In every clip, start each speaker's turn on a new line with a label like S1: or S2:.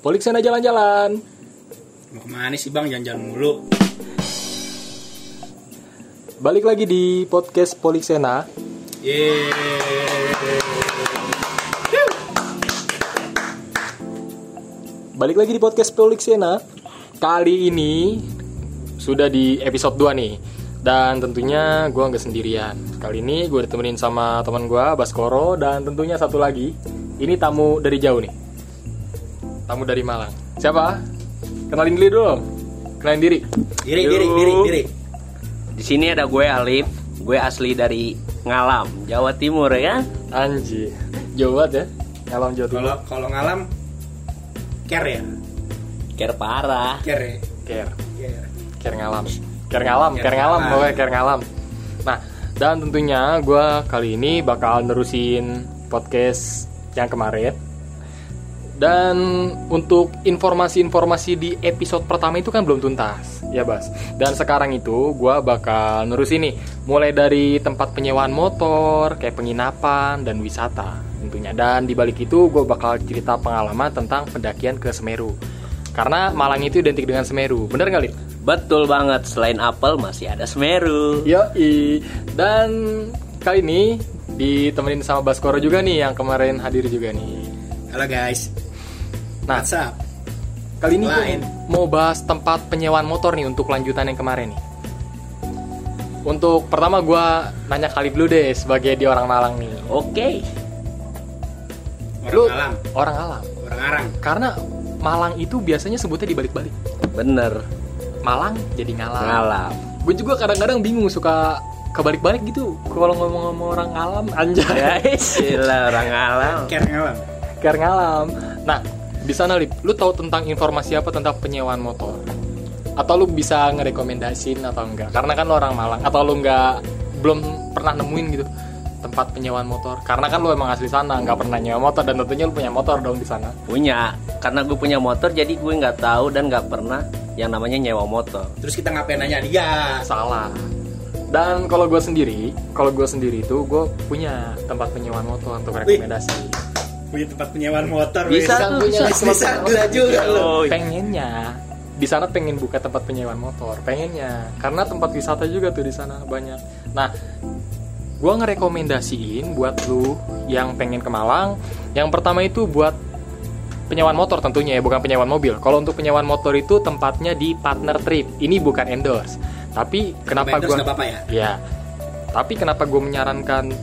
S1: Poliksena jalan-jalan.
S2: Mau kemana sih bang? Jangan-jangan mulu.
S1: Balik lagi di podcast Poliksena.
S2: Yeay.
S1: Balik lagi di podcast Poliksena. Kali ini sudah di episode 2 nih. Dan tentunya gue nggak sendirian. Kali ini gue ditemenin sama teman gue Baskoro dan tentunya satu lagi. Ini tamu dari jauh nih. Tamu dari Malang. Siapa? Kenalin diri dulu. Kenalin diri.
S2: Diri, diri, diri, diri.
S3: Di sini ada gue Alif, gue asli dari Ngalam, Jawa Timur ya.
S1: Anji. Jawa ya. Ngalam Jawa Timur.
S2: Kalau kalau ngalam, care ya,
S3: Ker parah.
S2: care ya.
S1: Care.
S2: Care.
S1: Care ngalam. Care ngalam, care ngalam,
S2: ngalam.
S1: pokoknya care ngalam. Nah, dan tentunya gue kali ini bakal nerusin podcast yang kemarin. Dan untuk informasi-informasi di episode pertama itu kan belum tuntas, ya Bas. Dan sekarang itu gue bakal nerusin nih, mulai dari tempat penyewaan motor, kayak penginapan dan wisata tentunya. Dan di balik itu gue bakal cerita pengalaman tentang pendakian ke Semeru. Karena Malang itu identik dengan Semeru, bener nggak Lip?
S3: Betul banget, selain apel masih ada semeru.
S1: Yoi. Dan kali ini ditemenin sama Baskoro juga nih yang kemarin hadir juga nih.
S2: Halo guys.
S1: Nah,
S2: What's up?
S1: kali ini gua
S2: Lain.
S1: mau bahas tempat penyewaan motor nih untuk lanjutan yang kemarin nih. Untuk pertama gua nanya kali dulu deh sebagai dia orang Malang nih.
S3: Oke,
S2: Orang
S1: Lu-
S2: ngalam,
S1: Orang Alam.
S2: orang arang.
S1: Karena Malang itu biasanya sebutnya dibalik-balik.
S3: bener
S1: Malang jadi ngalam.
S3: Ngalam.
S1: Gue juga kadang-kadang bingung suka kebalik-balik gitu kalau ngomong sama orang alam anjay.
S3: Ya istilah orang Ngalam.
S2: Care ngalam.
S1: Ker ngalam. Nah, di sana Lip, lu tahu tentang informasi apa tentang penyewaan motor? Atau lu bisa ngerekomendasiin atau enggak? Karena kan lu orang Malang, atau lu enggak belum pernah nemuin gitu tempat penyewaan motor. Karena kan lu emang asli sana, nggak pernah nyewa motor dan tentunya lu punya motor dong di sana.
S3: Punya, karena gue punya motor jadi gue nggak tahu dan nggak pernah yang namanya nyewa motor.
S2: Terus kita ngapain nanya dia?
S1: Salah. Dan kalau gue sendiri, kalau gue sendiri itu gue punya tempat penyewaan motor untuk rekomendasi.
S2: Punya tempat penyewaan motor.
S3: Bisa
S2: weh.
S3: tuh,
S1: punya
S3: bisa.
S1: tempat
S2: Bisa
S1: penyewaan
S2: gila juga lu.
S3: Oh,
S1: pengennya di sana pengen buka tempat penyewaan motor pengennya karena tempat wisata juga tuh di sana banyak nah gua ngerekomendasiin buat lu yang pengen ke Malang yang pertama itu buat penyewaan motor tentunya ya bukan penyewaan mobil kalau untuk penyewaan motor itu tempatnya di partner trip ini bukan endorse tapi kenapa
S2: Vendors
S1: gua
S2: nggak apa-apa ya?
S1: Ya, tapi kenapa gue menyarankan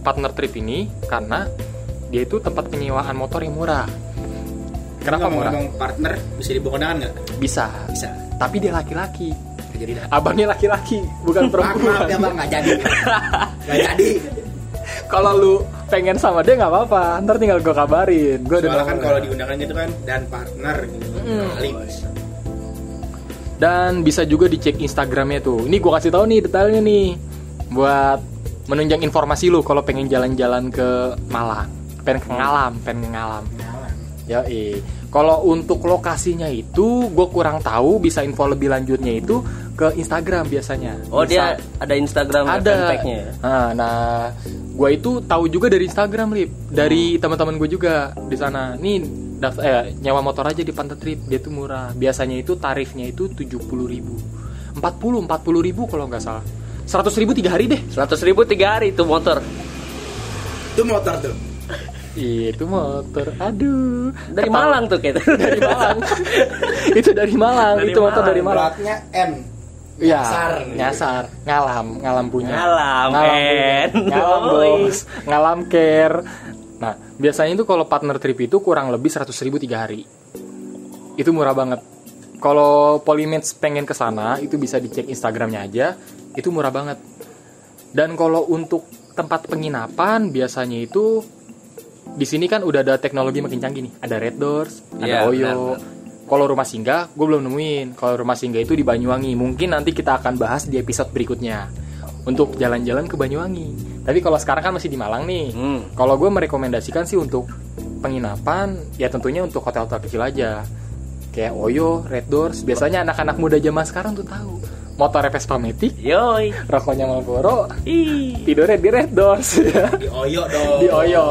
S1: partner trip ini? Karena dia itu tempat penyewaan motor yang murah. Kenapa
S2: Ngomong-
S1: murah?
S2: ngomong partner bisa dibawa kondangan nggak?
S1: Bisa.
S2: Bisa.
S1: Tapi dia laki-laki.
S2: Nggak Jadi dah.
S1: Abangnya laki-laki, bukan
S2: Maaf, maaf ya
S1: perempuan.
S2: bang, nggak jadi. Nggak jadi.
S1: Kalau lu pengen sama dia nggak apa-apa, ntar tinggal gue kabarin. Gue
S2: Soalnya kan kalau diundangkan gitu kan dan partner gitu. Kali.
S1: Dan bisa juga dicek Instagramnya tuh. Ini gue kasih tahu nih detailnya nih, buat menunjang informasi lu kalau pengen jalan-jalan ke Malang, pengen ke Ngalam, pengen ngalam.
S2: Ngalam.
S1: Yoi. Kalau untuk lokasinya itu gue kurang tahu, bisa info lebih lanjutnya itu ke Instagram biasanya.
S3: Oh
S1: Bisa-
S3: dia ada Instagram
S1: ada.
S3: fanpage-nya ya?
S1: Nah, nah gue itu tahu juga dari Instagram lip, dari
S3: Hmm.
S1: teman-teman gue juga di sana. Nih daft- eh, nyawa motor aja di Pantai Trip, dia tuh murah. Biasanya itu tarifnya itu 70.000 ribu, 40 40 ribu kalau nggak salah. 100.000 ribu tiga hari deh.
S3: 100 ribu tiga hari itu motor
S2: Itu motor tuh.
S1: Ih, Itu motor, aduh.
S3: dari
S1: Ketawa.
S3: Malang tuh kita.
S1: dari Malang. itu dari Malang,
S3: Dari
S1: itu motor
S3: Malang,
S1: dari Malang.
S2: Platnya M.
S1: Iya,
S2: Nyasar.
S1: nyasar, ngalam, ngalam punya.
S3: Ngalam,
S1: punya.
S3: men.
S1: Ngalam,
S3: Doi.
S1: bos. Ngalam care. Nah, biasanya itu kalau partner trip itu kurang lebih 100.000 ribu tiga hari. Itu murah banget. Kalau Polymates pengen ke sana, itu bisa dicek Instagramnya aja. Itu murah banget. Dan kalau untuk tempat penginapan, biasanya itu di sini kan udah ada teknologi makin canggih nih. Ada Red Doors, ada
S3: Iya,
S1: Oyo.
S3: benar,
S1: Kalau rumah singgah, gue belum nemuin. Kalau rumah singgah itu di Banyuwangi. Mungkin nanti kita akan bahas di episode berikutnya untuk jalan-jalan ke Banyuwangi. Tapi kalau sekarang kan masih di Malang nih.
S3: Hmm.
S1: Kalau gue merekomendasikan sih untuk penginapan, ya tentunya untuk hotel-hotel kecil aja. Kayak Oyo, Red Doors. Biasanya anak-anak muda zaman sekarang tuh tahu. Motor Efes Pametik,
S3: Yoi.
S1: rokoknya Marlboro,
S3: Ih.
S1: tidurnya di Red Doors.
S2: Di Oyo dong.
S1: di Oyo.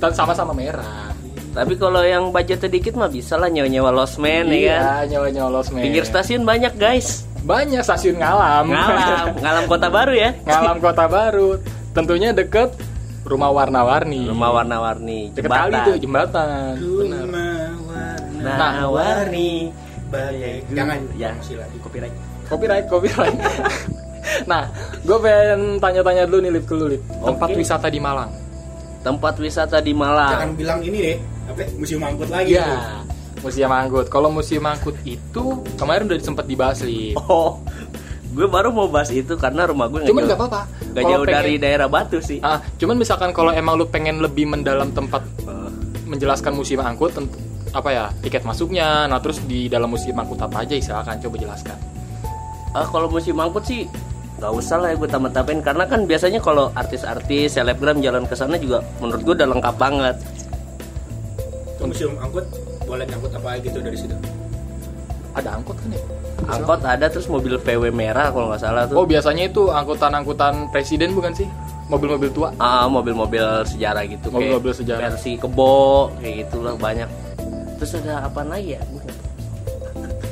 S1: Dan sama-sama merah.
S3: Tapi kalau yang budgetnya dikit mah bisa lah nyewa-nyewa losmen ya kan.
S1: Iya, nyawa-nyawa los men.
S3: Pinggir stasiun banyak guys.
S1: Banyak stasiun ngalam.
S3: Ngalam, ngalam kota baru ya.
S1: Ngalam Kota Baru. Tentunya deket rumah warna-warni.
S3: Rumah warna-warni,
S1: Deket kali tuh
S3: jembatan.
S1: jembatan. Benar.
S2: Rumah warna
S3: Nah, warni.
S2: bagai Iya, Jangan,
S3: Ya.
S2: masih lagi copyright
S1: Copyright, copyright. nah, gue pengen tanya-tanya dulu nih Lip ke lu Lip. Tempat
S3: Oke.
S1: wisata di Malang.
S3: Tempat wisata di
S2: Jangan
S3: Malang.
S2: bilang ini deh Apa, museum angkut lagi tuh.
S1: Iya. Museum Angkut. Kalau Museum Angkut itu kemarin udah sempat dibahas Lip.
S3: Oh, gue baru mau bahas itu karena rumah gue nggak
S1: gitu. Cuman nggak
S3: jauh,
S1: apa-apa.
S3: nggak
S1: Kalau
S3: jauh
S1: pengen-
S3: dari daerah Batu sih.
S1: Ah, cuman misalkan kalau emang lu pengen lebih mendalam tempat
S3: Eh,
S1: menjelaskan musim angkut tent- apa ya tiket masuknya nah terus di dalam musim angkut apa aja silakan coba jelaskan
S3: Ah, kalau musim angkut sih nggak usah lah ya gue tamat-tamatin karena kan biasanya kalau artis-artis selebgram jalan ke sana juga menurut gue udah lengkap banget.
S2: Ke museum angkut boleh nyangkut apa aja gitu dari situ
S1: ada angkut kan ya
S3: Angkot ada terus mobil VW merah kalau nggak salah
S1: oh
S3: tuh.
S1: biasanya itu angkutan-angkutan presiden bukan sih mobil-mobil tua
S3: Ah, mobil-mobil sejarah gitu kayak
S1: Mobil-mobil sejarah.
S3: versi kebo kayak gitulah banyak. Terus ada apa lagi ya? Gua nggak tahu.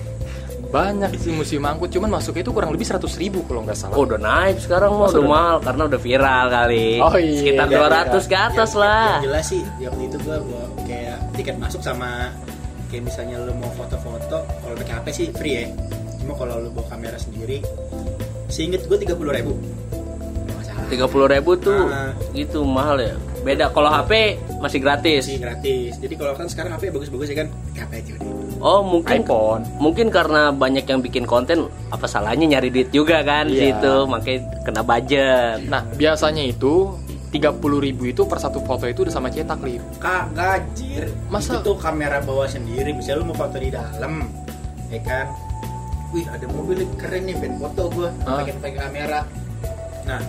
S1: banyak sih musim angkut cuman masuknya itu kurang lebih 100.000 ribu kalau nggak salah
S3: Oh udah naik sekarang mah
S1: Masa
S3: udah
S1: udah
S3: mahal karena udah viral kali.
S1: Oh, iya.
S3: Sekitar
S1: Iya,
S3: 200 ke atas
S2: Yang-
S3: lah.
S1: Ah.
S2: yang jelas sih ya waktu itu gua bawa kayak tiket masuk sama kayak misalnya lu mau foto-foto kalau pakai HP sih free ya cuma kalau lu bawa kamera sendiri seinget gua tiga puluh ribu
S1: iya.
S2: masalah
S3: 30.000 tuh
S1: Nah.
S2: Ah.
S3: gitu mahal ya. Beda kalau HP masih
S2: Iya
S3: gratis.
S2: sih gratis jadi kalau kan sekarang HP bagus-bagus ya kan pakai HP aja udah
S3: Oh mungkin
S1: iPhone.
S3: mungkin karena banyak yang bikin konten apa salahnya nyari duit juga kan di
S1: Iya.
S3: situ makanya kena budget.
S1: nah biasanya itu 30.000 ribu itu per satu foto itu udah sama cetak lip
S2: Kak gajir
S1: Masa?
S2: Itu tuh kamera bawa sendiri Misalnya lu mau foto di dalam Ya kan Wih ada mobil nih, keren nih pengen foto gue
S1: Ah.
S2: Pengen pakai kamera Nah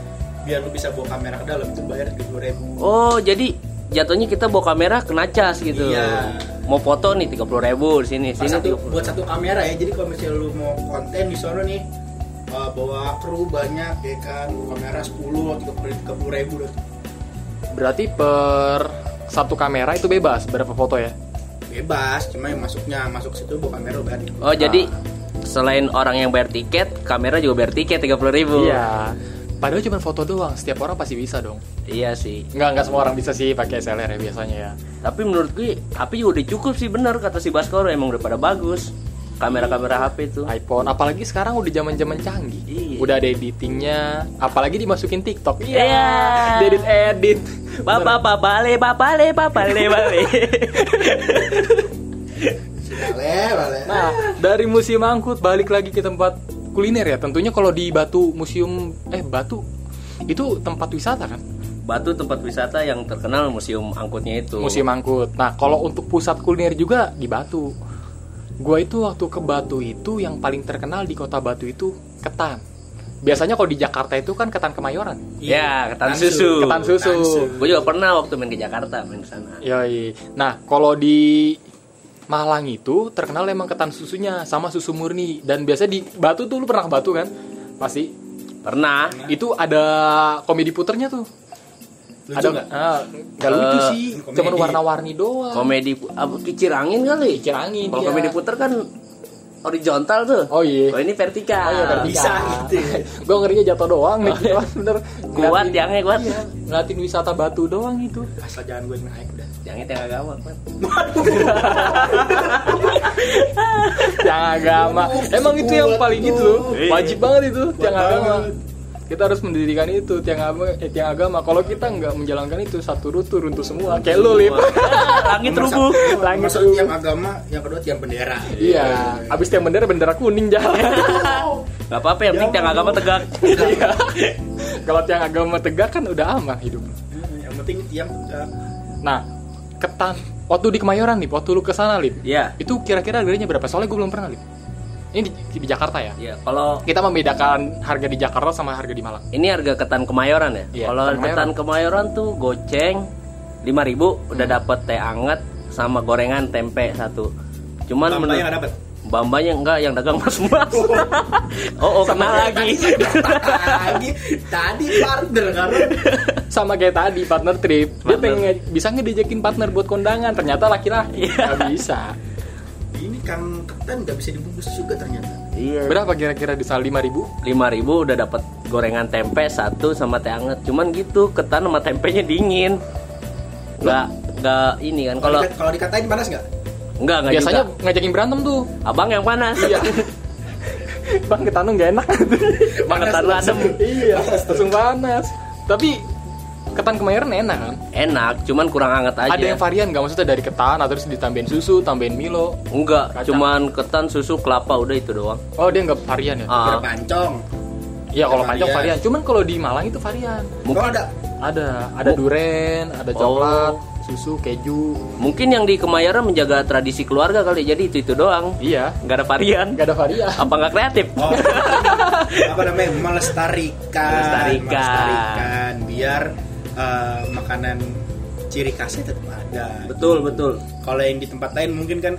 S2: biar lu bisa bawa kamera ke dalam itu bayar 20 ribu
S3: Oh jadi jatuhnya kita bawa kamera kena cas gitu.
S2: Iya.
S3: Mau foto nih 30.000 di sini sini
S2: satu,
S3: 30.000.
S2: buat satu kamera ya jadi kalau misalnya lu mau konten di sono nih uh, bawa kru banyak ya kan kamera 10 atau 30, 30 ribu udah
S1: berarti per satu kamera itu bebas berapa foto ya
S2: bebas cuma yang masuknya masuk situ bawa kamera udah
S3: Oh jadi selain orang yang bayar tiket, kamera juga bayar tiket 30.000
S1: iya padahal cuma foto doang setiap orang pasti bisa dong
S3: Iya sih.
S1: nggak nggak semua orang bisa sih pakai SLR ya biasanya ya
S3: Tapi menurut gue HP juga udah cukup sih bener kata si Baskoro emang udah pada bagus. Kamera-kamera HP itu.
S1: iPhone apalagi sekarang udah zaman-zaman canggih.
S3: Iya.
S1: Udah ada editingnya, apalagi dimasukin TikTok.
S3: Iya.
S1: Edit edit.
S3: Bapak babale babale babale babale.
S2: boleh boleh
S1: Nah, dari musim angkut balik lagi ke tempat kuliner ya. Tentunya kalau di Batu Museum eh Batu itu tempat wisata kan?
S3: Batu tempat wisata yang terkenal museum angkutnya itu.
S1: Musim angkut. Nah, kalau untuk pusat kuliner juga di Batu. Gua itu waktu ke Batu itu yang paling terkenal di kota Batu itu ketan. Biasanya kalau di Jakarta itu kan ketan kemayoran.
S3: Ya, ketan
S2: Tansu.
S3: susu.
S1: Ketan susu.
S2: Tansu.
S3: Gue juga pernah waktu main ke Jakarta main ke sana.
S1: Yoi. Nah, kalau di Malang itu terkenal emang ketan susunya sama susu murni dan biasa di Batu tuh lu pernah ke Batu kan? Pasti.
S3: Pernah.
S1: Itu ada komedi puternya tuh.
S2: Lucu
S1: ada
S2: nggak?
S1: Ah, nggak lucu
S3: Eh,
S1: sih,
S2: komedi.
S1: cuman warna-warni doang.
S3: Komedi pu- apa kicir angin kali.
S1: Kikir angin.
S3: Kalau
S1: iya.
S3: komedi puter kan horizontal tuh.
S1: Oh iya.
S3: Kalau ini
S1: Oh
S3: vertikal.
S1: iya, vertikal.
S2: bisa gitu
S1: Gue ngerinya jatuh doang nih, cuman bener.
S3: Kuat ya.
S1: Ngeliatin-
S3: yangnya kuat.
S1: Iya, ngeliatin wisata Batu doang itu.
S2: asal jangan gue naik udah
S3: Yangnya tengah gawang. Kuat.
S1: yang agama emang itu yang paling itu loh
S3: Iya.
S1: wajib banget itu tiang
S2: Buat
S1: agama
S2: banget.
S1: kita harus mendirikan itu tiang agama eh, tiang agama kalau kita nggak menjalankan itu satu rutu runtuh semua kayak lu lip
S3: Langit rubuh.
S1: Langit
S2: Masa
S1: rubuh.
S2: tiang agama yang kedua tiang bendera
S1: iya abis tiang bendera bendera kuning jalan
S3: Gak apa-apa yang penting tiang agama tegak.
S1: Iya. kalau tiang agama tegak kan udah aman hidup
S2: Eh, yang penting tiang eh,
S1: nah ketan waktu di Kemayoran nih waktu lu kesana lip
S3: Iya.
S1: itu kira-kira harganya berapa soalnya gue belum pernah lip ini di, di Jakarta ya
S3: Iya, kalau
S1: kita membedakan harga di Jakarta sama harga di Malang
S3: ini harga ketan kemayoran ya.
S1: Iya,
S3: Kalau
S1: ketan
S3: ketan kemayoran tuh goceng
S1: Hmm.
S3: 5000 udah dapet teh anget sama gorengan tempe satu. Cuman
S2: tambah yang
S3: menurut
S2: dapat
S3: Bambanya enggak yang dagang mas-mas. oh, oh kena lagi.
S2: Tadi, tadi partner karena
S1: sama kayak tadi partner trip dia
S3: Partner.
S1: pengen nge- bisa ngedejakin partner buat kondangan ternyata laki-laki
S3: Iya.
S1: nggak bisa
S2: ini kan ketan nggak bisa dibungkus juga ternyata.
S3: Iya.
S1: berapa kira-kira di sal lima ribu
S3: 5000 udah dapat gorengan tempe satu sama teh anget. Cuman gitu, ketan sama tempenya dingin. Enggak enggak ini kan kalau
S2: Kalau di- kalau dikatain panas nggak?
S3: enggak enggak
S1: biasanya
S3: juga.
S1: ngajakin berantem tuh
S3: Abang yang panas.
S1: iya bang kita tuh nggak enak
S3: Bang ketan lu adem.
S1: iya langsung panas tapi ketan kemayoran enak kan
S3: Enak, cuman kurang anget aja.
S1: ada yang varian nggak maksudnya dari ketan atau terus ditambahin susu tambahin milo
S3: Enggak,
S1: Kacang.
S3: cuman ketan, susu, kelapa udah itu doang.
S1: oh dia nggak varian ya
S3: Ah,
S2: Kira pancong.
S1: Iya kalau
S2: Varian.
S1: panjang varian cuman kalau di Malang itu varian
S2: Kalau ada
S1: ada ada
S3: Oh.
S1: duren ada
S3: Oh.
S1: coklat susu keju
S3: mungkin yang di Kemayoran menjaga tradisi keluarga kali, jadi itu itu doang.
S1: iya
S3: Enggak ada varian.
S1: nggak ada varian
S3: Apa nggak kreatif?
S2: oh, apa namanya melestarikan,
S3: Melestarikan.
S2: melestarikan, biar eh, makanan ciri khasnya tetap ada.
S3: Betul, betul.
S2: Kalau yang di tempat lain mungkin kan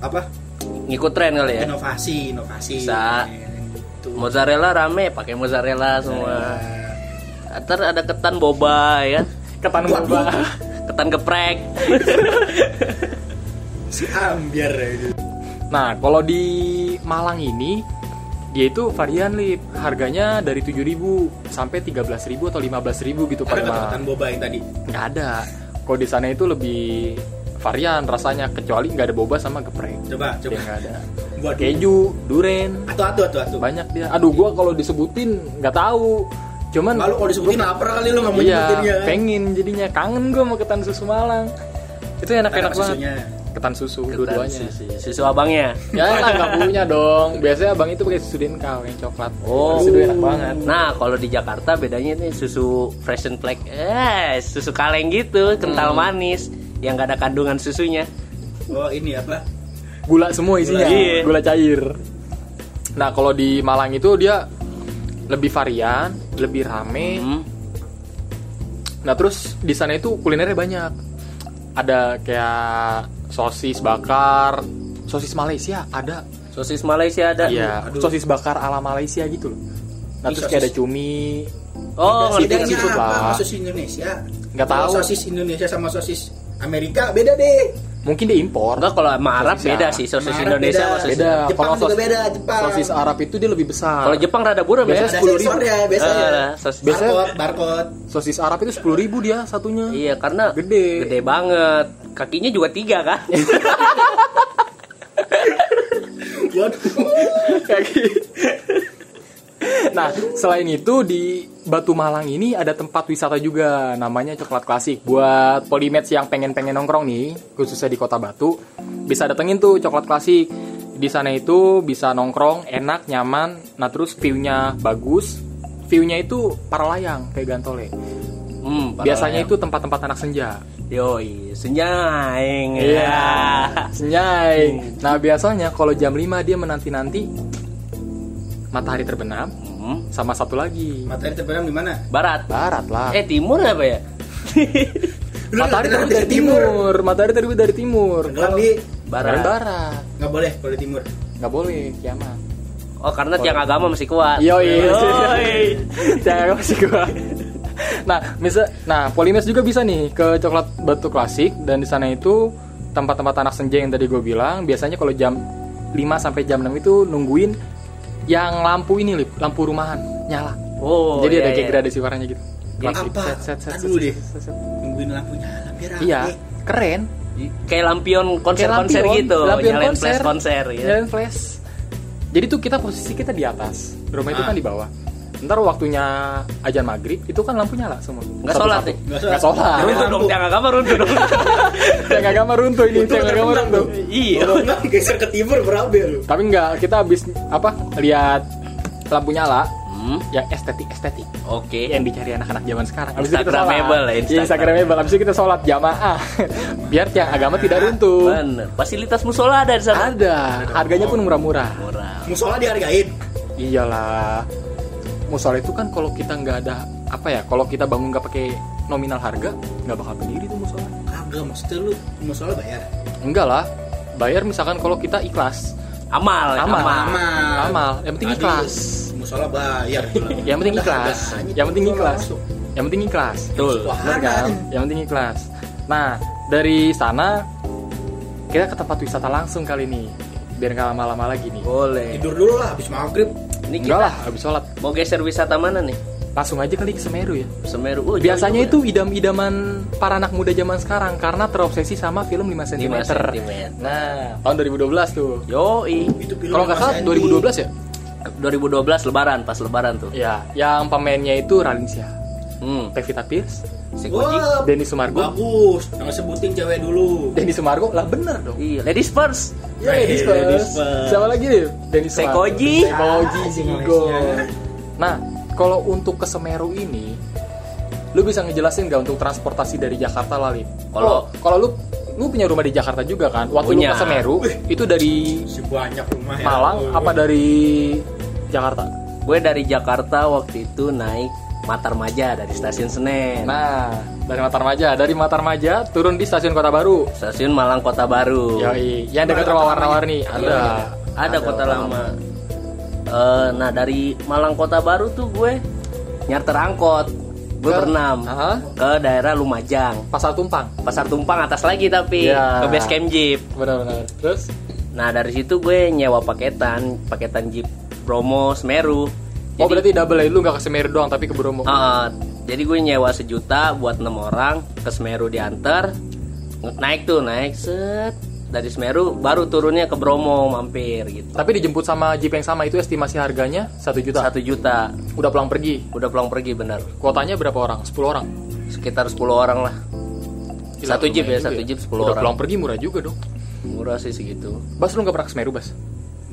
S2: apa
S3: Ngikut tren kali
S1: Iya.
S3: ya.
S2: inovasi inovasi.
S3: Bisa.
S2: Gitu.
S3: Mozzarella rame, pakai mozzarella
S1: Iya.
S3: semua. Ntar ada ketan boba ya. kan?
S1: ketan boba
S3: Ketan geprek.
S2: si ambiar ya itu.
S1: nah kalau di Malang ini dia itu varian lip harganya dari 7.000 sampai 13.000 atau 15.000 gitu
S2: Ada
S1: paling mahal.
S2: kata-kataan boba yang tadi.
S1: nggak ada kalau di sana itu lebih varian rasanya kecuali nggak ada boba sama geprek
S2: Coba
S1: dia
S2: coba.
S1: Iya, nggak ada
S2: Buat
S1: keju duren
S2: Atau atau atau
S1: Gitu.
S2: atau.
S1: banyak dia aduh gua kalau disebutin nggak tahu cuman
S2: Lalu kalau disebutin lapar kali lu nggak mau
S1: iya
S2: nyebutin ya.
S1: pengen jadinya kangen gua sama ketan susu Malang itu enak-enak
S2: Anak
S1: banget
S2: susunya.
S1: ketan susu
S3: Ketan
S1: dua-duanya
S3: susu, iya. susu abangnya.
S1: ya lah nggak punya dong biasanya abang itu pakai susu denkau yang coklat
S3: Oh.
S1: susu enak banget
S3: Nah, kalau di Jakarta bedanya nih susu fresh and black. Eh, susu kaleng gitu, kental manis yang gak ada kandungan susunya.
S2: Oh ini apa?
S1: gula semua isinya
S3: Gula, iya.
S1: gula cair nah kalau di Malang itu dia lebih varian lebih rame
S3: Hmm.
S1: nah terus di sana itu kulinernya banyak ada kayak sosis bakar sosis Malaysia ada
S3: Sosis Malaysia ada.
S1: iya
S2: aduh.
S1: sosis bakar ala Malaysia gitu loh nah
S2: Ih,
S1: terus kayak ada
S2: sosis.
S1: cumi
S3: Oh, ngerti.
S2: Bedanya
S1: seafood
S2: apa?
S1: gitu lah.
S2: Sosis Indonesia.
S1: Nggak
S2: Kalau
S1: tahu.
S2: Sosis Indonesia sama sosis Amerika beda deh.
S1: mungkin dia impor
S3: Enggak kalau sama Arab
S1: Sosis
S3: beda
S1: Arab.
S3: sih sosis
S2: Sama Arab
S3: Indonesia sama sosis.
S1: beda
S2: Jepang
S1: kalau
S2: juga
S1: sos-
S2: beda, Jepang.
S1: sosis Arab itu dia lebih besar
S3: Kalau Jepang rada buram ya.
S1: Biasanya
S2: Ada
S1: 10.000.
S2: sensor ya biasanya.
S1: Ah.
S3: Eh, sosis-
S1: Biasanya-
S2: Barcode, barcode.
S1: sosis Arab itu sepuluh ribu dia satunya
S3: Iya, karena
S1: Gede. Iya.
S3: gede banget. Kakinya juga tiga kan?
S2: Waduh.
S1: gitu. nah selain itu di Batu Malang ini ada tempat wisata juga namanya coklat klasik buat polimets yang pengen-pengen nongkrong nih khususnya di kota Batu bisa datengin tuh coklat klasik di sana itu bisa nongkrong enak nyaman nah terus viewnya bagus viewnya itu para layang kayak gantole
S3: Hmm, parah
S1: biasanya
S3: ya.
S1: itu tempat-tempat anak senja
S3: Yoi, senja aing.
S1: Iya.
S3: Ya.
S1: Senyai. Nah, biasanya kalau jam 5 dia menanti-nanti matahari terbenam
S3: Hmm.
S1: sama satu lagi.
S2: Matahari terbenam di mana?
S3: Barat.
S1: Barat lah.
S3: Eh, timur apa ya?
S2: Lu
S1: matahari
S2: terbenam
S1: terbit dari timur. Matahari terbit dari timur.
S2: Tenggelam
S1: Kalau-
S2: di
S1: Barat.
S3: Barat.
S1: Barat.
S2: nggak boleh kalau di timur.
S1: Nggak boleh kiamat.
S3: Oh, karena tiang agama masih kuat.
S1: Yoi.
S3: Yoi.
S1: Jangan masih gua. Nah, bisa nah Polines juga bisa nih ke coklat batu klasik dan di sana itu tempat-tempat anak senja yang tadi gue bilang biasanya kalau jam 5 sampai jam 6 itu nungguin yang lampu ini Lip, lampu rumahan nyala.
S3: Oh,
S1: Jadi ada
S3: iya,
S1: kayak
S3: iya.
S1: gradasi warnanya gitu.
S3: Ya,
S1: Klasik.
S2: apa?
S1: Set, set, set,
S2: Aduh
S1: set,
S2: deh. Nah, eh.
S1: set, set.
S2: Nungguin lampunya nyala biar rame.
S1: Iya, keren.
S3: Kayak lampion konser-konser
S1: Kayak lampion,
S3: gitu,
S1: lampion
S3: nyalain
S1: konser. Iya.
S3: flash konser ya.
S1: Nyalain flash. Jadi tuh kita posisi kita di atas, rumah itu
S2: Ah.
S1: kan di bawah. Ntar waktunya ajan maghrib itu kan lampu nyala semua.
S3: Nggak sholat nih.
S2: Nggak
S1: Nggak sholat.
S3: Runtuh dong,
S2: Lampu.
S3: tiang agama runtuh dong.
S1: Tiang agama runtuh ini, tiang agama
S2: terbenam
S1: runtuh.
S3: Iya.
S2: Kalau nggak geser ke timur berabe lu.
S1: Tapi enggak, kita habis apa? Lihat lampu nyala ya
S3: Hmm,
S1: yang estetik-estetik
S3: oke.
S1: yang dicari anak-anak zaman sekarang. Habis itu kita
S3: Instagramable
S1: sholat.
S3: ya,
S1: Iya, Instagramable. Habis itu kita sholat jamaah. Biar tiang agama tidak runtuh.
S3: Bener. Fasilitas musola ada di sana.
S1: Ada, harganya pun murah-murah.
S3: Murah.
S2: Musola dihargain.
S1: Iyalah. Musola itu kan kalau kita nggak ada apa ya, kalau kita bangun nggak pakai nominal harga, nggak bakal berdiri tuh musola.
S2: Kagak maksudnya lu musola bayar.
S1: Enggak lah. Bayar misalkan kalau kita ikhlas.
S3: amal ya,
S1: Amal.
S3: amal.
S1: Amal. Yang penting ikhlas.
S2: musola bayar.
S1: Yang penting ikhlas. Yang penting ikhlas. Yang penting ikhlas.
S3: Betul.
S2: Wah,
S1: Bener kan? Yang penting ikhlas. Nah, dari sana kita ke tempat wisata langsung kali ini. Biar nggak lama-lama lagi nih.
S3: Boleh.
S2: Tidur dulu lah habis maghrib.
S3: Ini
S1: Enggak
S3: kita
S1: lah, habis sholat.
S3: mau geser wisata mana nih?
S1: Langsung aja kali ke Semeru ya.
S3: Semeru. Oh, jauh
S1: Biasanya
S3: juga
S1: itu idam-idaman para anak muda zaman sekarang karena terobsesi sama film 5
S3: ya.
S1: cm.
S3: 5 cm.
S1: Nah, tahun 2012 tuh.
S3: Yoi.
S2: Itu film
S1: Kalau nggak salah 2012 ya?
S3: 2012 lebaran, pas lebaran tuh.
S1: Ya, yang pemainnya itu Ralinsyah,
S3: Hmm.
S1: Pevita Pierce,
S3: Si Koji.
S2: Wah,
S1: Denny Sumargo.
S2: bagus. Jangan sebutin cewek dulu.
S1: Denny Sumargo lah bener dong.
S3: Iya, ladies first.
S1: Yeay,
S2: Yeay,
S1: Dennis First.
S2: Dennis First.
S1: Siapa lagi nih? Denny Sumargo.
S3: Sekoji.
S1: Sekoji,
S2: Ah, si
S1: Zigo.
S2: Malaysia.
S1: Nah, kalau untuk ke Semeru ini, lu bisa ngejelasin nggak untuk transportasi dari Jakarta lali?
S3: Kalau-
S1: kalau lu lu punya rumah di Jakarta juga kan? Waktu
S3: Punya.
S1: lu ke Semeru itu dari
S2: Si banyak rumah ya.
S1: Malang
S2: Oh,
S1: apa dari Jakarta?
S3: Gue dari Jakarta waktu itu naik Matarmaja dari stasiun Senen.
S1: Nah, dari Matarmaja, dari Matarmaja turun di stasiun Kota Baru.
S3: Stasiun Malang Kota Baru.
S1: Yoi, yang dekat rumah warna-warni Iya, ada.
S3: Ada, ada kota lama. Eh, nah dari Malang Kota Baru tuh gue nyarter angkot. Gue
S1: Ke- Ah.
S3: berenam
S1: Aha.
S3: ke daerah Lumajang.
S1: Pasar Tumpang.
S3: Pasar Tumpang atas lagi tapi
S1: Ya.
S3: ke base camp jeep.
S1: Benar-benar. Terus
S3: Nah dari situ gue nyewa paketan, paketan jeep Bromo
S1: Oh
S3: Semeru. Jadi-
S1: berarti double ya, lu gak ke Semeru doang tapi ke Bromo.
S3: Ah, jadi gue nyewa sejuta buat enam orang ke Semeru diantar, naik tuh naik set dari Semeru baru turunnya ke Bromo mampir gitu.
S1: Tapi dijemput sama jeep yang sama itu estimasi harganya 1 juta.
S3: Satu juta
S1: Udah pulang pergi.
S3: udah pulang pergi bener
S1: Kuotanya berapa orang? 10 orang.
S3: sekitar 10 orang lah.
S1: Gila,
S3: satu jeep
S1: lumayan
S3: ya satu
S1: juga
S3: jeep 10
S1: Udah
S3: orang.
S1: pulang pergi murah juga dong.
S3: Murah sih segitu.
S1: Bas lu gak pernah ke Semeru, Bas?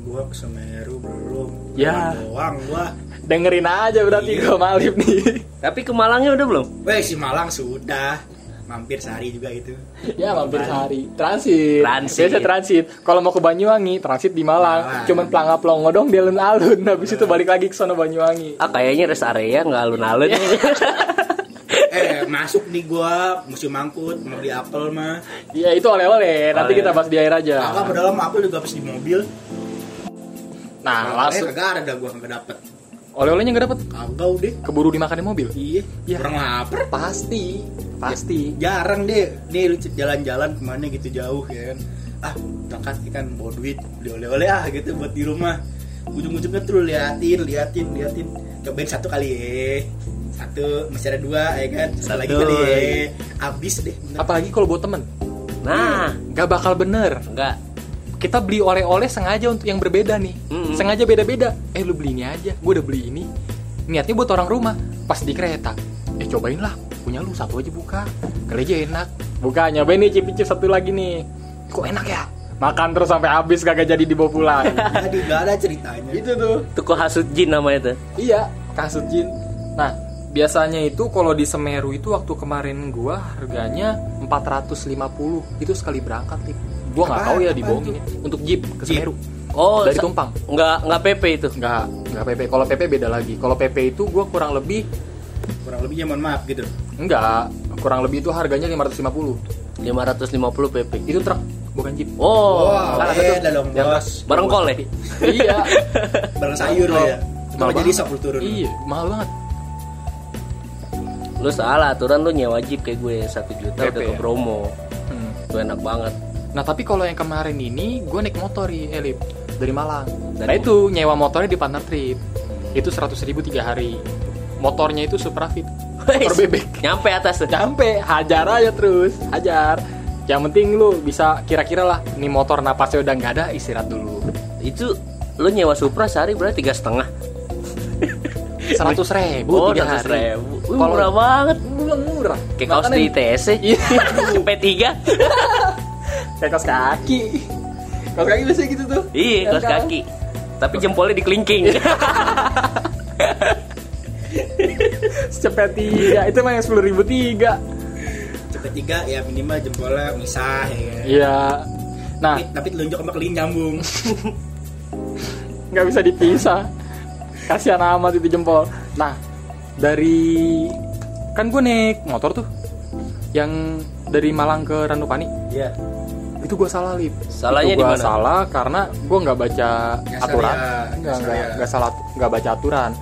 S2: Gua ke Semeru belum.
S1: Ya.
S2: Doang gua.
S1: Dengerin aja berarti gue malip nih.
S3: Tapi ke Malangnya udah belum?
S2: Weh si Malang sudah. Mampir sehari juga gitu. itu.
S1: ya mampir sehari. Transit.
S3: Transit.
S1: Biasa transit. Kalau mau ke Banyuwangi, transit di Malang.
S2: Malang.
S1: Cuman pelangga pelongo dong di alun-alun. Habis itu balik lagi ke sono Banyuwangi.
S3: Ah kayaknya rest area nggak alun-alun.
S1: Iya.
S2: Eh masuk nih gua musim angkut mau beli apel mah.
S1: Ya itu oleh-oleh. Nanti kita bahas di air aja.
S2: Kakak padahal sama apel juga pas di mobil.
S1: Nah,
S2: Awalnya
S1: langsung.
S2: kagak ada gua kagak dapet.
S1: Oleh-olehnya gak dapet.
S2: Kagak udah.
S1: Keburu dimakan di mobil.
S2: Iya.
S1: Iya.
S2: Kurang lapar.
S1: Pasti. Pasti.
S2: jarang deh nih lu jalan-jalan kemana gitu jauh ya kan ah berangkat kan bawa duit beli oleh-oleh ah gitu buat di rumah ujung-ujungnya tuh lu liatin liatin liatin cobain satu kali ya satu masih ada dua ya kan satu lagi
S3: Satu.
S2: kali ya abis deh bener.
S1: Ya, Apalagi kalau buat temen
S3: nah,
S1: Gak bakal bener
S3: enggak.
S1: Kita beli oleh-oleh sengaja untuk yang berbeda nih
S3: Mm-mm.
S1: Sengaja beda-beda Eh lu beli ini aja Gue udah beli ini Niatnya buat orang rumah Pas di kereta Eh cobain lah Punya lu satu aja buka Kali aja enak Buka nyobain nih cip-cip satu lagi nih Kok enak ya Makan terus sampai habis kagak jadi dibawa pulang
S2: jadi gak ada ceritanya
S1: Itu tuh
S3: Tuku hasut jin namanya tuh.
S1: Iya, kasut jin. Nah, biasanya itu kalau di Semeru itu waktu kemarin gua harganya 450 itu sekali berangkat, Lip. Gua nggak tahu
S2: Apaan?
S1: ya
S2: Apaan
S1: dibohongin ya. Untuk jeep ke
S2: Jeep.
S1: Semeru.
S3: Oh,
S1: Dari
S3: sa-
S1: Tumpang.
S3: Nggak nggak PP itu.
S1: Nggak, nggak PP. Kalau PP beda lagi. Kalau PP itu gua kurang lebih
S2: kurang lebihnya mohon maaf gitu
S1: enggak, kurang lebih itu harganya 550.
S3: 550 PP.
S1: Itu truk, bukan jeep.
S3: Oh,
S2: Wah,
S3: kan ada
S2: beda
S3: tuh.
S2: dong
S1: yang
S2: bos
S3: Bareng kol ya?
S1: iya.
S2: bareng sayur lo ya
S1: Mahal
S2: cuma jadi
S1: banget.
S2: sok lu turun
S1: Iya, mahal banget.
S3: Lu salah aturan lu nyewa jeep kayak gue 1 juta
S1: PP,
S3: udah ke
S1: ya?
S3: Bromo.
S1: Hmm.
S3: Itu enak banget.
S1: Nah tapi kalau yang kemarin ini gue naik motor di Elip dari Malang.
S3: Dari-
S1: Nah itu nyewa motornya di partner trip. Itu 100.000 ribu tiga hari. Motornya itu Suprafit. Motor
S3: Wes,
S1: bebek. Ya.
S3: Nyampe atas tuh.
S1: Sampai hajar aja terus, hajar. Yang penting lu bisa kira-kira lah, nih motor napasnya udah nggak ada, istirahat dulu.
S3: Itu lu nyewa Supra sehari berarti tiga setengah.
S1: 100 ribu
S3: Oh,
S1: Eh, tiga
S3: 100
S1: hari.
S3: ribu. Wih,
S1: Kalau-
S3: murah banget.
S1: Murah murah.
S3: Kayak kaos di
S1: Makanya-
S3: ITS ya.
S1: Iya.
S3: P3.
S1: Kayak kaos kaki. Kaos kaki biasanya gitu tuh.
S3: Iya, kaos
S1: Kan?
S3: kaki. Tapi jempolnya dikelingking.
S1: Iya. Secepet tiga, itu mah yang sepuluh ribu tiga.
S2: cepet tiga ya minimal jempolnya misah ya kan
S1: Iya. Nah,
S2: tapi, tapi telunjuk sama keling nyambung
S1: nggak bisa dipisah kasihan amat itu jempol nah dari kan gue naik motor tuh yang dari Malang ke Ranupani
S2: iya
S1: itu gue salah lip
S3: Salahnya
S1: itu
S3: di
S1: gue
S3: mana?
S1: salah karena gue nggak baca
S2: Nggak
S1: aturan
S2: syariah,
S1: nggak
S2: nggak
S1: nggak
S2: syariah.
S1: nggak salah nggak baca aturan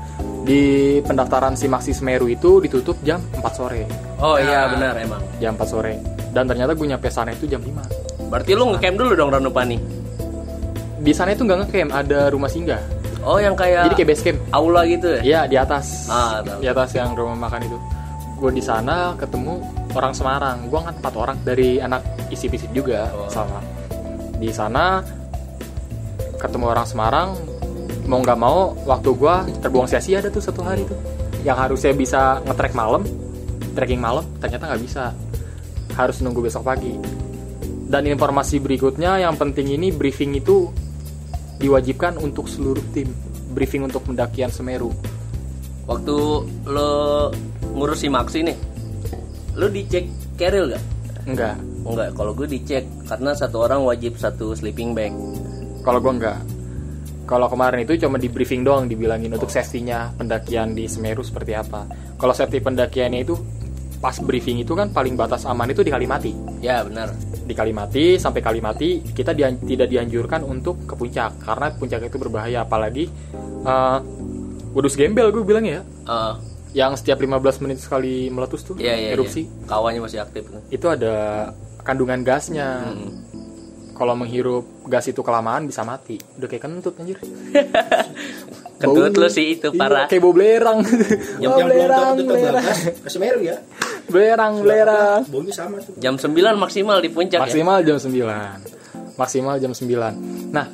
S1: di pendaftaran simaksi semeru itu ditutup jam 4 sore
S3: Oh
S2: Nah.
S3: iya benar emang.
S1: jam 4 sore dan ternyata gue nyampe sana itu jam 5
S3: Berarti lu ngecamp dulu dong tahun depan nih.
S1: di sana itu nggak ngecamp ada rumah singgah
S3: Oh yang kayak
S1: jadi kayak base camp
S3: aula gitu ya?
S1: Iya di atas.
S3: Ah, tahu.
S1: di atas yang rumah makan itu. Gue di sana ketemu orang Semarang. Gue kan empat orang dari anak isip-isip juga
S3: Oh.
S1: sama. Di sana ketemu orang Semarang mau nggak mau waktu gue terbuang sia-sia ada tuh satu hari tuh yang harusnya bisa ngetrek malam trekking malam ternyata nggak bisa harus nunggu besok pagi dan informasi berikutnya yang penting ini briefing itu diwajibkan untuk seluruh tim briefing untuk pendakian Semeru
S3: Waktu lu ngurus si Maxi nih. Lu dicek keril gak?
S1: Enggak.
S3: Oh, Enggak, kalau gue dicek karena satu orang wajib satu sleeping bag.
S1: Kalau gue enggak. Kalau kemarin itu cuma di briefing doang dibilangin
S3: Oh.
S1: untuk safety-nya pendakian di Semeru seperti apa. Kalau safety pendakiannya itu pas briefing itu kan paling batas aman itu di Kalimati.
S3: Ya benar.
S1: Di Kalimati sampai Kalimati kita dia- tidak dianjurkan untuk ke puncak karena puncak itu berbahaya apalagi eh Kudus gembel gue bilang ya
S3: Eh,
S1: yang setiap 15 menit sekali meletus tuh
S3: Iya iya.
S1: erupsi
S3: iya. Kawannya masih aktif.
S1: itu ada kandungan gasnya
S3: Hmm.
S1: kalau menghirup gas itu kelamaan bisa mati udah kayak kentut anjir
S3: Kentut
S1: Bau. Iya,
S3: lu sih itu parah.
S1: kayak bau belerang
S2: yang
S1: Wah,
S2: yang belum tahu tuh tahun
S1: belerang
S2: 12 ke Semeru ya Nah,
S1: belerang belerang
S2: baunya sama tuh
S3: Jam 9 maksimal di puncak ya.
S1: maksimal jam 9 maksimal jam 9 nah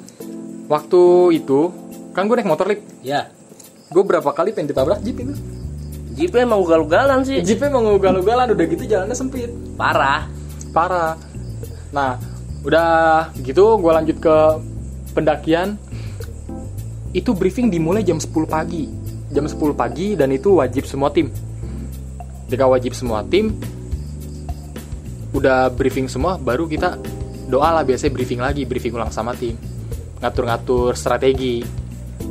S1: waktu itu kan gue naik motor lip
S3: Ya.
S1: gue berapa kali pengen ditabrak jeep itu
S3: Jeepnya emang ugal-ugalan
S2: Iya.
S3: sih.
S1: jeepnya mau ugal-ugalan udah gitu jalannya sempit
S3: Parah.
S1: parah. Nah, udah gitu gue lanjut ke pendakian. Itu briefing dimulai jam 10 pagi. Jam 10 pagi dan itu wajib semua tim. Jika wajib semua tim, udah briefing semua baru kita doa lah biasanya briefing lagi, briefing ulang sama tim. Ngatur-ngatur strategi.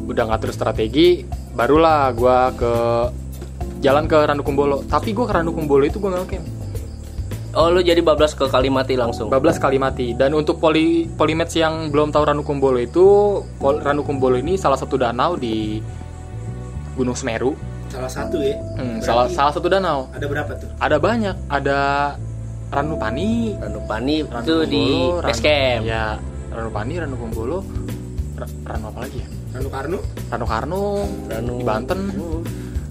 S1: Udah ngatur strategi, barulah gue ke jalan ke Ranukumbolo. Tapi gue ke Ranukumbolo itu gue nggak camp.
S3: Oh lu jadi bablas ke Kalimati langsung.
S1: 12 kali mati dan untuk poli polimatch yang belum tahu Ranukumbolo itu pol- Ranukumbolo ini salah satu danau di Gunung Semeru
S2: salah satu ya
S1: Hmm,
S2: Berarti
S1: salah salah satu danau
S2: ada berapa tuh
S1: ada banyak ada Ranupani
S3: Ranupani itu
S1: Ranukumbolo,
S3: di
S1: Ranu-
S3: base camp.
S1: ya Ranupani Ranukumbolo Ra- Ranu apa lagi ya
S2: Ranu Karno
S1: Ranu Karnung
S3: Ranu-
S1: di Banten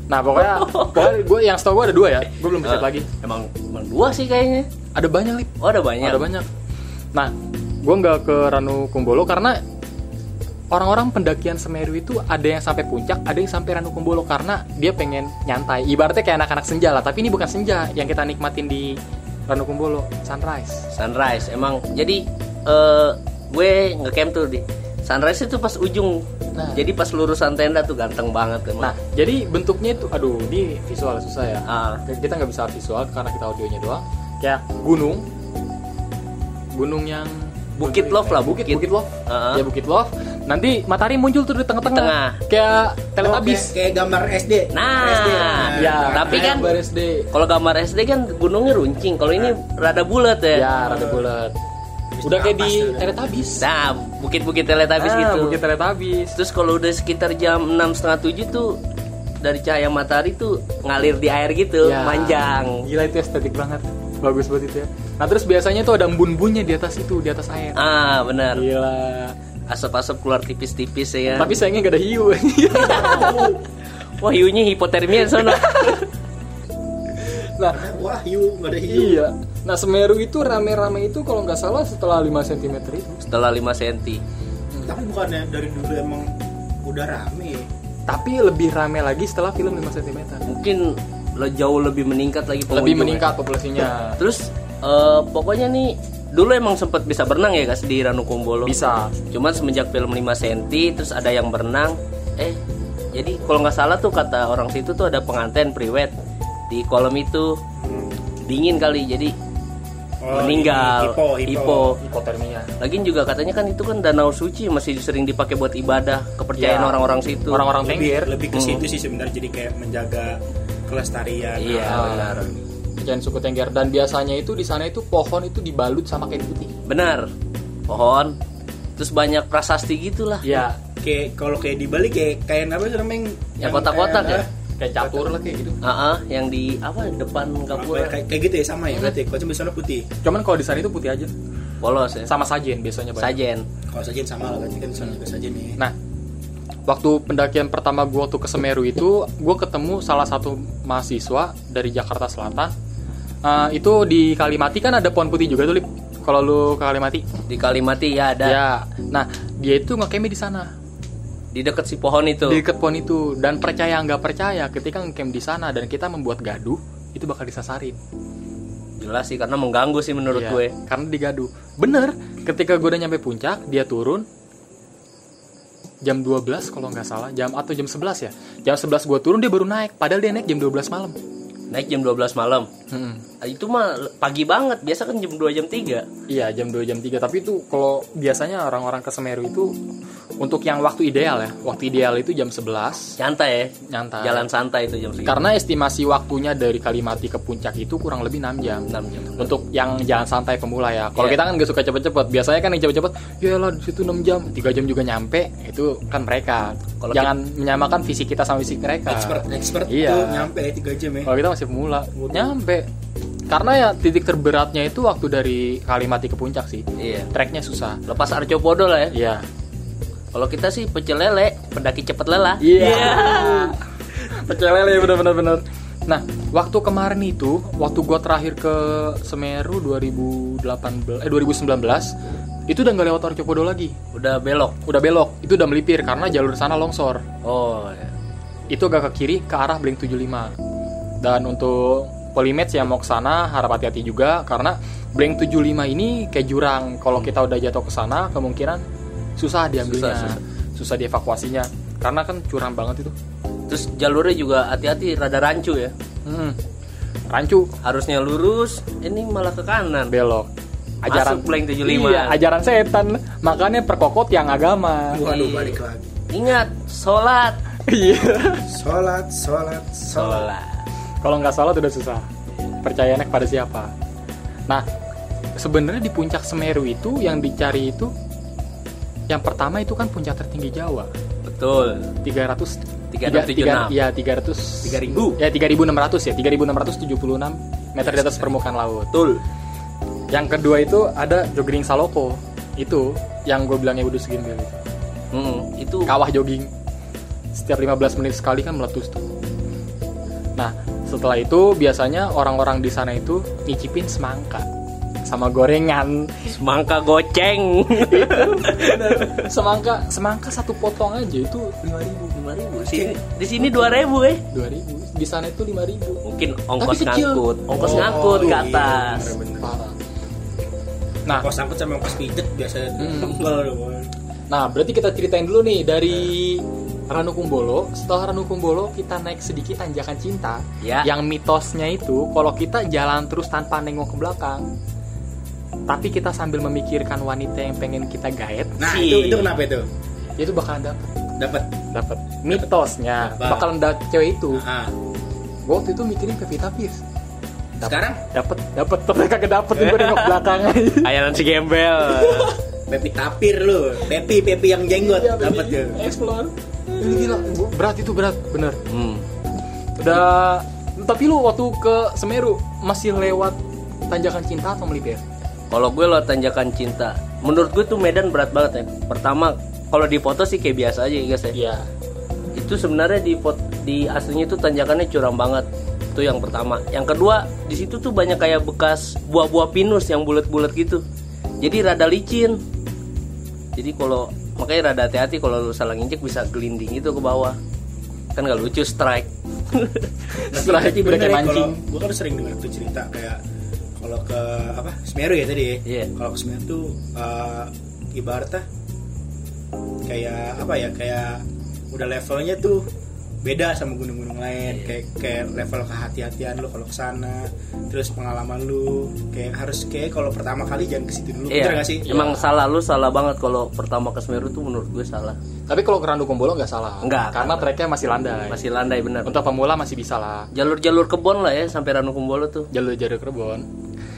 S1: nah pokoknya pokoknya gue yang setahu gue ada dua ya gue belum
S3: Eh,
S1: riset lagi
S3: Emang emang dua sih kayaknya.
S1: ada banyak Lip.
S3: Oh ada banyak.
S1: Ada banyak. Nah, gue nggak ke Ranu Kumbolo karena orang-orang pendakian Semeru itu ada yang sampai puncak, ada yang sampai Ranu Kumbolo karena dia pengen nyantai. Ibaratnya kayak anak-anak senja lah, tapi ini bukan senja yang kita nikmatin di Ranu Kumbolo sunrise.
S3: Sunrise emang. Jadi eh gue ngecamp tuh di Sunrise itu pas ujung.
S1: Nah.
S3: Jadi pas lurusan tenda tuh ganteng banget emang.
S1: Nah, jadi bentuknya itu, aduh, ini visual susah ya.
S3: Ah,
S1: Kita nggak bisa visual karena kita audionya doang.
S3: Ya.
S1: Kayak gunung, gunung yang
S3: Bukit Love lah,
S1: bukit,
S3: bukit.
S1: bukit love,
S3: Ah.
S1: ya bukit love. Nanti matahari muncul tuh di tengah-tengah,
S3: tengah.
S1: kayak
S2: Oh,
S1: teletabis.
S2: kayak, kayak gambar SD
S3: Nah,
S2: SD.
S1: Ya,
S3: Tapi
S2: nah,
S3: kan-
S1: gambar SD.
S3: Kalau gambar SD kan gunungnya runcing, kalau ini rada bulat ya.
S1: Nah. Ya, rada bulat. Udah kayak di Teletubbies.
S3: Nah, bukit-bukit teletabis
S1: Ah,
S3: gitu.
S1: Bukit Teletubbies.
S3: Terus kalau udah sekitar jam enam setengah tujuh tuh dari cahaya matahari tuh ngalir di air gitu,
S1: Ya.
S3: manjang.
S1: Gila itu estetik banget. Bagus banget itu ya. Nah, terus biasanya tuh ada embun-bunnya di atas itu, di atas air.
S3: Ah, benar.
S1: Gila.
S3: Asap-asap keluar tipis-tipis ya.
S1: Iya. Tapi sayangnya gak ada hiu.
S3: Wah, hiunya hipotermia sono.
S1: nah,
S2: wah hiu nggak ada hiu
S1: iya. Nah, Semeru itu rame-rame itu kalau nggak salah setelah 5 cm itu.
S3: Setelah 5 cm.
S2: tapi bukannya dari dulu emang udah rame ya?
S1: Tapi lebih rame lagi setelah film 5 cm.
S3: Mungkin lo jauh lebih meningkat lagi pengunjung.
S1: Lebih
S3: ya.
S1: meningkat populasinya.
S3: Terus eh, pokoknya nih dulu emang sempat bisa berenang ya guys di Ranukumbolo.
S1: Bisa.
S3: Cuman semenjak film 5 cm terus ada yang berenang eh jadi kalau nggak salah tuh kata orang situ tuh ada pengantin priwet di kolam itu
S2: Hmm.
S3: dingin kali jadi
S2: Oh,
S3: meninggal
S2: hipo, hipo.
S1: Hipotermia.
S3: Lagian juga katanya kan itu kan danau suci masih sering dipakai buat ibadah
S1: Ya.
S3: kepercayaan orang-orang situ.
S1: Orang-orang
S2: lebih
S3: Hmm.
S1: tengger.
S2: lebih ke situ sih sebenarnya jadi kayak menjaga kelestarian
S3: Iya
S1: Ah.
S3: benar.
S1: Pecahan suku Tengger dan biasanya itu di sana itu pohon itu dibalut sama kain putih.
S3: Benar. Pohon. Terus banyak prasasti gitulah.
S1: Iya,
S2: kayak kalau kayak di Bali kayak kayak apa sih namanya yang-
S3: Ya, kotak-kotak
S2: kayak-
S3: ya?
S1: kayak catur lah kayak gitu.
S3: Heeh, yang di apa depan
S2: Apa
S3: gapura
S2: ya, kayak, kayak gitu ya sama ya berarti kalau cuma di sana putih
S1: Cuman kalau di sana itu putih aja.
S3: polos ya.
S1: Sama sajen biasanya banyak.
S3: Sajen.
S2: kalau sajian sama lah berarti kan di sana juga sajian nih
S1: Nah, waktu pendakian pertama gue waktu ke Semeru itu, gue ketemu salah satu mahasiswa dari Jakarta Selatan. Eh, itu di Kalimati kan ada pohon putih juga tuh, Lip. Kalau lu ke Kalimati.
S3: Di Kalimati ya ada.
S1: Ya. Nah, dia itu ngekemi di sana.
S3: Di deket si pohon itu.
S1: Di deket pohon itu dan percaya nggak percaya ketika ngecamp di sana dan kita membuat gaduh, itu bakal disasarin.
S3: Jelas sih karena mengganggu sih menurut
S1: Iya,
S3: gue.
S1: Karena digaduh. Bener, ketika gue udah nyampe puncak, dia turun jam 12 kalau nggak salah, jam atau jam 11 ya. Jam 11 gue turun dia baru naik, padahal dia naik jam 12 malam.
S3: Naik jam 12 malam.
S1: Hmm.
S3: Ah, Itu mah l- pagi banget, biasa kan jam 2 jam 3.
S1: Iya, jam 2 jam 3, tapi itu kalau biasanya orang-orang ke Semeru itu untuk yang waktu ideal ya. Waktu ideal itu jam 11
S3: Santai ya.
S1: nyantai.
S3: Jalan santai itu jam segitu.
S1: Karena estimasi waktunya dari Kalimati ke puncak itu kurang lebih 6 jam.
S3: 6 jam.
S1: untuk yang jalan santai pemula ya. Kalau
S3: Iya.
S1: kita kan gak suka cepet-cepet, biasanya kan yang cepet-cepet, ya lah di situ 6 jam, 3 jam juga nyampe, itu kan mereka.
S3: Kalau
S1: Jangan menyamakan fisik kita sama fisik mereka.
S2: expert expert
S1: Nah, Iya.
S2: tuh nyampe ya, tiga jam ya
S1: Kalau kita masih pemula, nyampe. Karena ya titik terberatnya itu waktu dari Kalimati ke puncak sih.
S3: Iya.
S1: Treknya susah.
S3: Lepas Arjopodo lah ya.
S1: Iya.
S3: Kalau kita sih pecel lele, pendaki cepet lelah.
S1: Iya, Pecel lele bener-bener bener. Nah, waktu kemarin itu, waktu gua terakhir ke Semeru 2018 eh 2019, itu udah nggak lewat Arjopodo lagi.
S3: Udah belok.
S1: udah belok itu udah melipir karena jalur sana longsor
S3: Oh, ya.
S1: itu agak ke kiri ke arah Blink 75 dan untuk polimets yang mau ke sana harap hati-hati juga karena Blink 75 ini kayak jurang kalau kita udah jatuh ke sana kemungkinan susah diambilnya
S3: Susah,
S1: susah,
S3: susah.
S1: dievakuasinya karena kan curang banget itu
S3: Terus jalurnya juga hati-hati rada rancu ya.
S1: hmm. rancu
S3: Harusnya lurus, ini malah ke kanan.
S1: belok ajaran
S3: Masuk Blink 75.
S1: iya, ajaran setan makanya perkokot yang agama
S2: waduh balik lagi
S3: Ingat, sholat.
S1: iya
S2: sholat sholat sholat
S3: Sholat.
S1: Kalau nggak salah udah susah. Percayaannya kepada siapa? Nah, sebenarnya di puncak Semeru itu yang dicari itu yang pertama itu kan puncak tertinggi Jawa.
S3: Betul.
S1: 300
S3: 376.
S1: Iya, 300
S3: 3000.
S1: Ya, 3600 ya, 3676 meter di atas permukaan laut.
S3: Betul.
S1: Yang kedua itu ada Jogging Saloko. Itu yang ya gue bilangnya Wudhu Segimbel itu.
S3: Hmm, itu
S1: Kawah jogging. Setiap 15 menit sekali kan meletus tuh. Nah, setelah itu biasanya orang-orang di sana itu nyicipin semangka sama gorengan.
S3: semangka goceng.
S1: semangka semangka satu potong aja itu 5000,
S3: 5000 sini. Di sini 2000 eh.
S1: 2000. Di sana itu 5000.
S3: Mungkin ongkos
S1: Tapi kecil.
S3: ngangkut, ongkos
S2: Oh,
S3: ngangkut ke
S2: iya,
S3: atas.
S2: bener-bener.
S1: Parah. Nah,
S2: Ongkos angkut sama ongkos pijet biasa ya kan.
S1: Hmm.
S2: tunggal doang.
S1: nah berarti kita ceritain dulu nih dari Iya. Ranukumbolo. Setelah Ranukumbolo kita naik sedikit tanjakan cinta.
S3: Ya.
S1: Yang mitosnya itu kalau kita jalan terus tanpa nengok ke belakang, tapi kita sambil memikirkan wanita yang pengen kita gaet,
S2: nah
S3: Si.
S2: itu itu kenapa itu
S1: itu bakalan dapet.
S2: dapat
S1: Dapet. Mitosnya
S2: Dapet.
S1: bakalan dapet cewek itu.
S2: ah
S1: Gue waktu itu mikirin Pevita Pierce. Dapet.
S2: sekarang
S1: Dapet, dapet, tapi kagak dapet ya. gue nengok belakang aja.
S3: Ayalan si gembel.
S2: Pepi tapir lu Pepi Pepi yang jenggot
S1: Iya,
S2: dapat
S1: baby.
S2: tuh
S1: Explore. Ini gila, gua- berat itu berat, bener.
S3: hmm.
S1: Udah, tapi lu waktu ke Semeru masih lewat tanjakan cinta atau melipir?
S3: Kalau gue lo tanjakan cinta, menurut gue tuh Medan berat banget ya. Pertama, kalau di foto sih kayak biasa aja ya guys ya.
S1: Iya.
S3: Itu sebenarnya di pot- di aslinya tuh tanjakannya curam banget. Itu yang pertama. Yang kedua, di situ tuh banyak kayak bekas buah-buah pinus yang bulat-bulat gitu. Jadi rada licin. Jadi kalau makanya rada hati-hati kalau lu salah nginjek bisa gelinding itu ke bawah. Kan gak lucu strike.
S1: Nah, Setelah
S2: Tapi
S1: itu udah kayak
S2: bener ya,
S1: mancing.
S2: kalau- Gua kan sering dengar tuh cerita kayak kalau ke apa Semeru ya tadi ya.
S3: Iya.
S2: Kalau ke Semeru tuh eh, ibaratnya kayak apa ya kayak udah levelnya tuh beda sama gunung-gunung lain
S1: Iya.
S2: kayak kayak level kehati-hatian lu kalau kesana terus pengalaman lu kayak harus kayak kalau pertama kali jangan ke situ dulu
S3: Iya.
S2: bener gak sih
S3: Emang salah lu salah banget kalau pertama ke Semeru tuh menurut gue salah.
S1: Tapi kalau ke Randu Kumbolo nggak salah.
S3: Nggak,
S1: Karena treknya masih landai.
S3: Masih landai benar.
S1: Untuk pemula masih bisa lah.
S3: Jalur-jalur kebon lah ya sampai Ranukumbolo tuh.
S1: Jalur jalur Kerbon.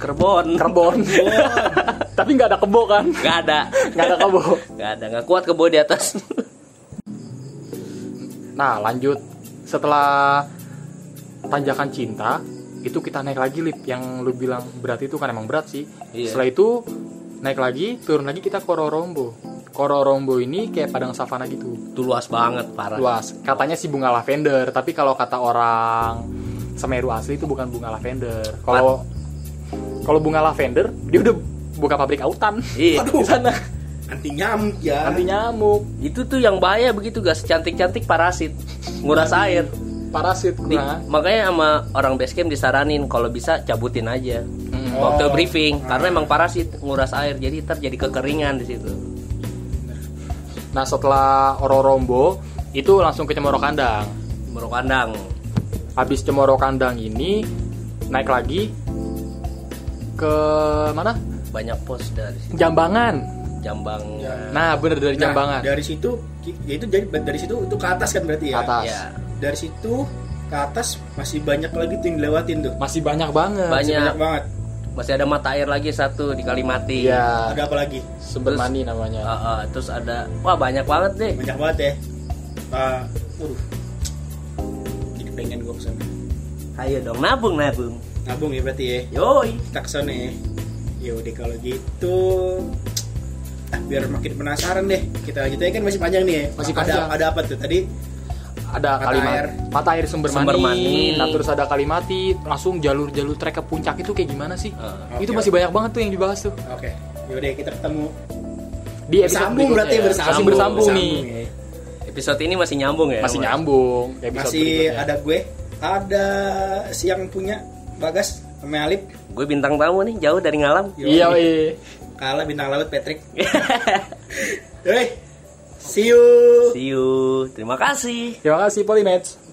S3: Kerbon.
S1: Kerbon. Tapi nggak ada kebo kan?
S3: Gak ada.
S1: Nggak ada kebo.
S3: Gak ada. Gak kuat kebo di atas.
S1: Nah lanjut setelah tanjakan cinta itu kita naik lagi lip yang lu bilang berat itu kan emang berat sih.
S3: Iya.
S1: Setelah itu naik lagi turun lagi kita Kororombo. Kororombo ini kayak padang savana gitu
S3: Tuh luas banget parah.
S1: luas. Katanya sih bunga lavender tapi kalau kata orang Semeru asli itu bukan bunga lavender. Kalau kalau bunga lavender dia udah buka pabrik autan
S3: Iya.
S1: di sana
S2: anti nyamuk ya
S1: anti nyamuk
S3: Itu tuh yang bahaya begitu gak secantik-cantik parasit. Nguras air.
S1: parasit
S3: Di-
S1: nah
S3: makanya sama orang basecamp disaranin kalau bisa cabutin aja
S1: Mm.
S3: waktu
S2: Oh.
S3: briefing karena emang parasit nguras air jadi ntar jadi kekeringan di situ
S1: Nah setelah Ororombo itu langsung ke Cemoro Kandang.
S3: Baru kandang
S1: Habis Cemoro Kandang ini naik lagi ke mana?
S3: banyak pos dari situ.
S1: Jambangan.
S3: Jambang
S2: Ya.
S1: Nah bener dari
S2: Nah,
S1: Jambangan.
S2: dari situ ki- ya itu jadi dari situ itu ke atas kan berarti ya
S1: Ke atas.
S3: ya
S2: dari situ ke atas masih banyak lagi tuh yang dilewatin tuh
S1: Masih banyak banget.
S3: Banyak.
S2: masih banyak banget
S3: masih ada mata air lagi satu di Kalimati
S1: Iya.
S2: ada apa lagi
S1: Sumber
S3: Terus-
S1: mani namanya.
S3: Ah, ah, terus ada wah banyak banget deh
S2: banyak banget ya Ah, waduh jadi pengen gue kesana
S3: ayo dong nabung nabung
S2: nabung ya berarti ya
S3: yoi
S2: kita kesana ya yaudah kalau gitu ah, biar makin penasaran deh kita lanjut aja kan masih panjang nih ya
S1: Masih
S2: ada,
S1: panjang.
S2: ada apa tuh tadi
S1: Ada
S2: Mata
S1: kalimat
S2: air.
S1: mata air sumber,
S3: Sumber
S1: mani.
S3: Mani.
S1: Nah terus ada Kalimati. Langsung jalur-jalur trek ke puncak itu kayak gimana sih?
S3: Ah,
S1: itu
S2: Oke,
S1: masih banyak banget tuh yang dibahas tuh
S2: oke yaudah kita ketemu
S1: di episode
S2: bersambung
S1: berikutnya.
S2: berarti ya, bersambung
S1: Masih bersambung, nih
S2: ya.
S3: episode ini masih nyambung ya
S1: masih
S3: Mas?
S1: nyambung di episode
S2: masih
S1: berikutnya.
S2: ada gue ada siang punya bagas sama Alip
S3: gue bintang tamu nih jauh dari ngalam
S1: iya
S2: Yoi.
S1: iya.
S2: kalah bintang laut Patrick Yoi, see you
S3: see you terima kasih
S1: terima kasih Polimats